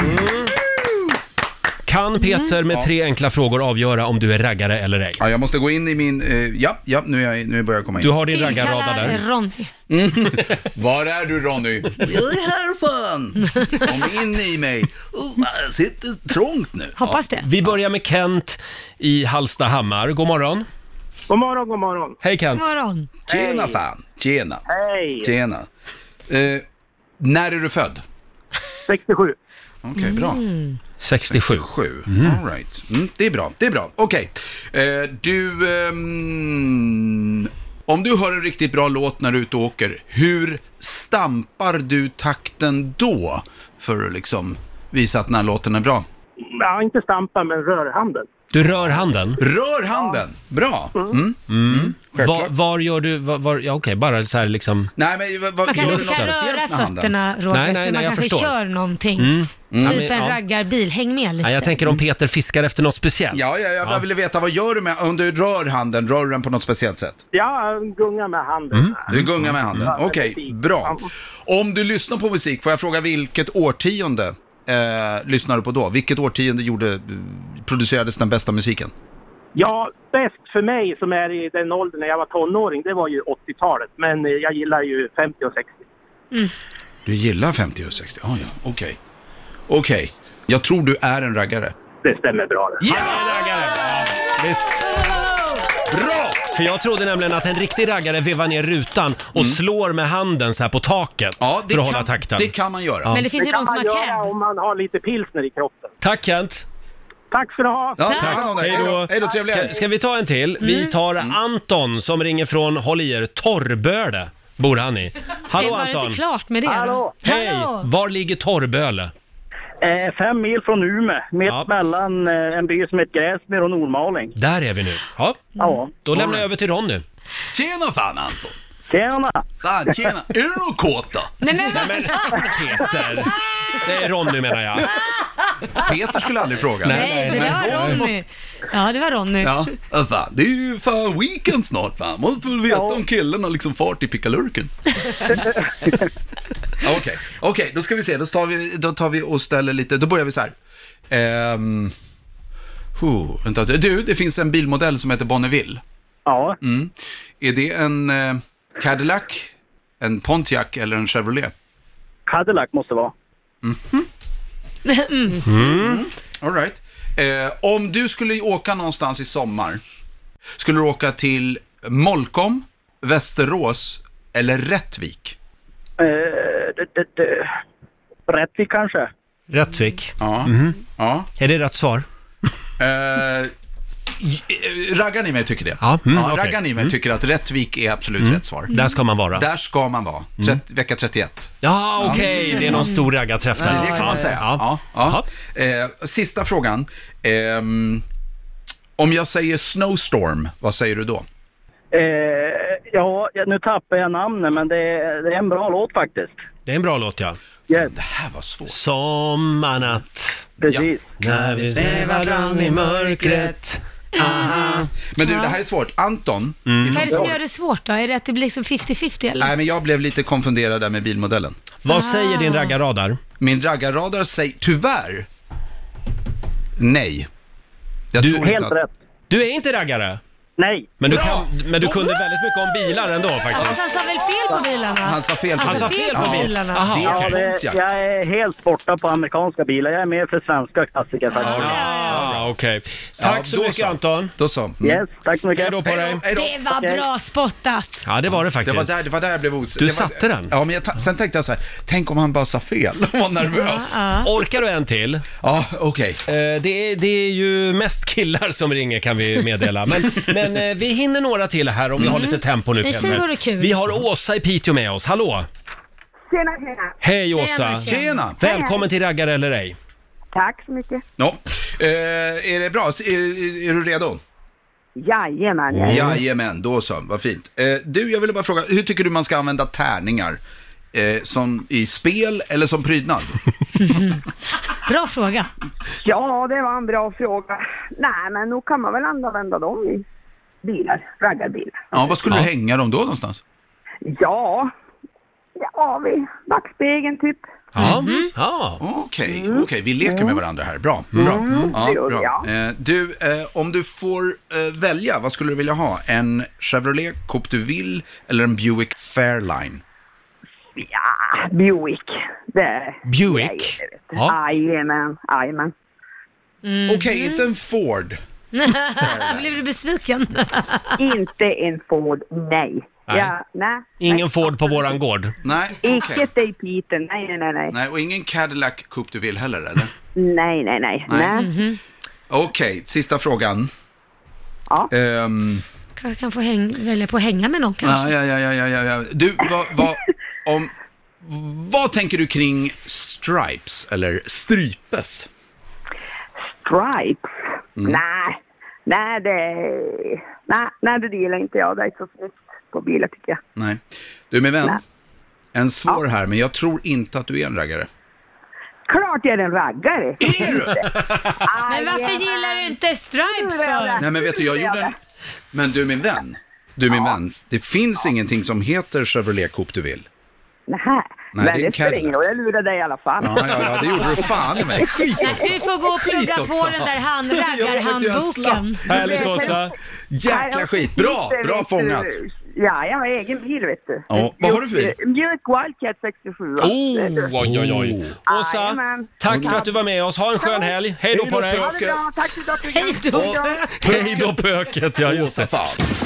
Mm. kan Peter med tre enkla frågor avgöra om du är raggare eller ej. Ja, jag måste gå in i min... Eh, ja, ja, nu, är jag, nu börjar jag komma in. Du har din raggarrada Tillkallar där. Ronny. Var är du Ronny? Jag är här fan! Kom in i mig. Oh, jag sitter trångt nu. Hoppas det. Vi börjar med Kent i Hallstahammar. God morgon. God morgon, god morgon. Hej Kent. God morgon. Tjena fan, tjena, Hej! tjena. Eh, när är du född? 67. Okej, bra. 67. Sju. All right. Mm, det är bra, det är bra. Okej. Eh, du, ehm, om du hör en riktigt bra låt när du är ute och åker, hur stampar du takten då? För att liksom visa att den här låten är bra. Ja, inte stampa, men rörhanden. Du rör handen. Rör handen! Bra! Mm. Mm. Var, Självklart. var gör du, var, var, ja okej, bara så här liksom. Nej, men vad- vad Man kan gör du inte något speciellt röra med handen? fötterna, Roger, Nej, nej, nej, för man jag kanske förstår. Mm. kör någonting. Ja, Typ men- ja. en raggarbil, häng med lite. Nej, jag tänker om Peter fiskar efter något speciellt. Ja, ja, jag bara ville veta, vad gör du med, om du rör handen, rör du den på något speciellt sätt? Ja, gunga med handen. Mm. Du gungar med handen. Ja, Okej, precis. bra. Om du lyssnar på musik, får jag fråga vilket årtionde eh, lyssnade du på då? Vilket årtionde gjorde, producerades den bästa musiken? Ja, bäst för mig som är i den åldern när jag var tonåring, det var ju 80-talet. Men eh, jag gillar ju 50 och 60. Du gillar 50 och 60? Ah, ja, okej. Okej, jag tror du är en raggare. Det stämmer bra det. Han är en raggare. Ja, visst. Bra! För jag trodde nämligen att en riktig raggare vevar ner rutan och slår med handen så här på taket Mm. Ja, det, för att kan, hålla takten. det kan man göra. Ja. Men det finns ju Det kan de som man har göra cab. om man har lite pilsner i kroppen. Tack Kent. Tack ska du ha! Ja, Tack. ta hand om dig. Hej då. Hej då, trevlig Ska, helg. ska vi ta en till? Vi tar Anton som ringer från, håll i er, Torrböle bor han i. Det Hallå var det Anton! inte klart med det. Hallå. då? Hej! Hallå. Var ligger Torrböle? Eh, fem mil från Umeå, mitt Ja. mellan eh, en by som heter Gräsmyr och Nordmaling. Mm. Där är vi nu. Ja, Ja. då lämnar jag över till Ronny. Tjena fan Anton! Tjena! Fan, tjena! är du någon kåt då? Nej men vad Peter! Det är Ronny menar jag. Peter skulle aldrig fråga. Nej, det var Ronny. Ja, det var Ronny. Ja, ja, fan, det är ju fan weekend snart fan. Måste väl veta om killen har liksom fart i pickalurken. Ja, Okej, okej, då ska vi se. Då tar vi, då tar vi och ställer lite, då börjar vi så här. Ehm, huh, vänta, du, det finns en bilmodell som heter Bonneville. Ja, Mm. Är det en eh, Cadillac, en Pontiac eller en Chevrolet? Cadillac måste det vara. All right. Eh, om du skulle åka någonstans i sommar, skulle du åka till Molkom, Västerås eller Rättvik? Eh, det, det, det. Rättvik kanske? Rättvik. Ja. Mhm. ja. Är det rätt svar? Eh, j- raggarn i mig tycker det. Ja, mm, ja, okej. raggarn i mig tycker att Rättvik är absolut rätt svar. Där Mm. ska man vara. Där ska man vara, Trett, vecka 31. Ja, okej, det är någon stor raggarträff där. det kan man säga. Ja. Ja, ja. Eh, sista frågan. Ehm, om jag säger snowstorm, vad säger du då? Eh, ja, nu tappar jag namnet men det är, det är en bra låt faktiskt. Det är en bra låt ja. Yes, Det här var svårt. Sommarnatt, precis. när vi svävar fram i mörkret. Men du, det här är svårt. Anton, Mm. ifrån Vad är det som Borg. gör det svårt då? Är det att det blir liksom 50-50 eller? Nej, men jag blev lite konfunderad där med bilmodellen. Vad säger din raggarradar? Min raggarradar säger tyvärr nej. Jag Du- tror inte Helt att- rätt. Du är inte raggare, Nej. men du, Bra! kan, men du kunde väldigt mycket om bilar ändå Ja, faktiskt. så Alltså, han sa väl fel på bilarna? Han sa fel på Han sa bilar. fel på alltså, Ja. bilarna. Det är Aha, Ja, okej. det, Pontiac. jag är helt borta på amerikanska bilar. Jag är mer för svenska klassiker faktiskt. Ah, okej. Tack Ja, så då mycket så. Anton. Då så. Mm. Yes, tack så mycket. Hej då på dig. Hej då. Det var Okej. bra spottat! Ja, det var det Det var faktiskt. där, det var där jag blev osäker. Du det var, satte den. Ja, men jag ta- sen tänkte jag så här, tänk om han bara sa fel och var nervös. Ja, Ja. Orkar du en till? Eh, okej. det, är, det är ju mest killar som ringer kan vi meddela. Men, men eh, vi hinner några till här om vi har lite tempo nu Men tjej Peter. vore kul. Vi har Åsa i Piteå med oss. Hallå! Tjena, tjena. Hej Tjena, Åsa! tjena. Tjena! Välkommen till Raggar eller ej. Tack så mycket. Ja. Eh, är det bra? S- Är, är du redo? Jajamän. jag- Jajamän, då så. Vad fint. Eh, du, jag ville bara fråga, hur tycker du man ska använda tärningar? Eh, som i spel eller som prydnad? Bra fråga! Ja, det var en bra fråga. Nej, men nog kan man väl använda dem i bilar, raggarbilar. Ja, vad skulle Ja. du hänga dem då någonstans? Ja, lite avig. Backspegeln typ. Ja, Mhm. ja. Okej, okej. Mm. Vi leker med varandra här. Bra. bra. det Ja, gör bra. Eh, Du, eh, om du får eh, välja, vad skulle du vilja ha? En Chevrolet Coupe du Ville eller en Buick Fairline? Ja, Buick. Det... Buick. Ja. Jajamän, jajamän. Mhm. Okej, inte en Ford. Blev du besviken? Inte en Ford, nej. Nej. Ja, nej. Ingen Ford på våran gård. Nej, okej. Icke dig Peter, nej, nej, nej, nej. Nej, och ingen Cadillac Coupe du Ville heller, eller? Nej, nej, nej. nej. Okej, sista frågan. Ja. Ehm, Kanske kan få häng, välja på att hänga med någon kanske. ja, ja, ja, ja, ja, ja, ja. Du, vad, vad, om, vad tänker du kring stripes eller strypes? Stripes? Mm. Nej, nej det... Nej, nej, det gillar inte jag. Det är så snyggt på bilar tycker jag. Nej. Du, min vän. En svår här, men jag tror inte att du är en raggare. Klart jag är en raggare! Är du? Men varför gillar du inte Stripes för? Nej, men vet du, jag gjorde en... Men du, min vän. Du, min vän. Det finns ingenting som heter Chevrolet Coupe du vill. Nähä. Men det är en det spelar ingen Cadillac. roll, jag lurar dig i alla fall. Ja, ja, ja, det gjorde du fan i mig. Skit också. Du får gå och plugga Skit på också. den där Jag vet inte, handraggarhandboken. jag Härligt Åsa. Jäkla skit. Bra, bra fångat. Ja, jag har egen bil vet du. Ja, vad har du för bil? Eh, Mjuk Wildcat 67. Oh, oj, oj, oj. Oh. Åsa, Jajamän. tack för att du var med oss. Ha en skön helg. Hej då Hej på då, dig. pö- Ha det bra, tack för idag. Hej då! Hej då pöket, ja just Åsa det. fan.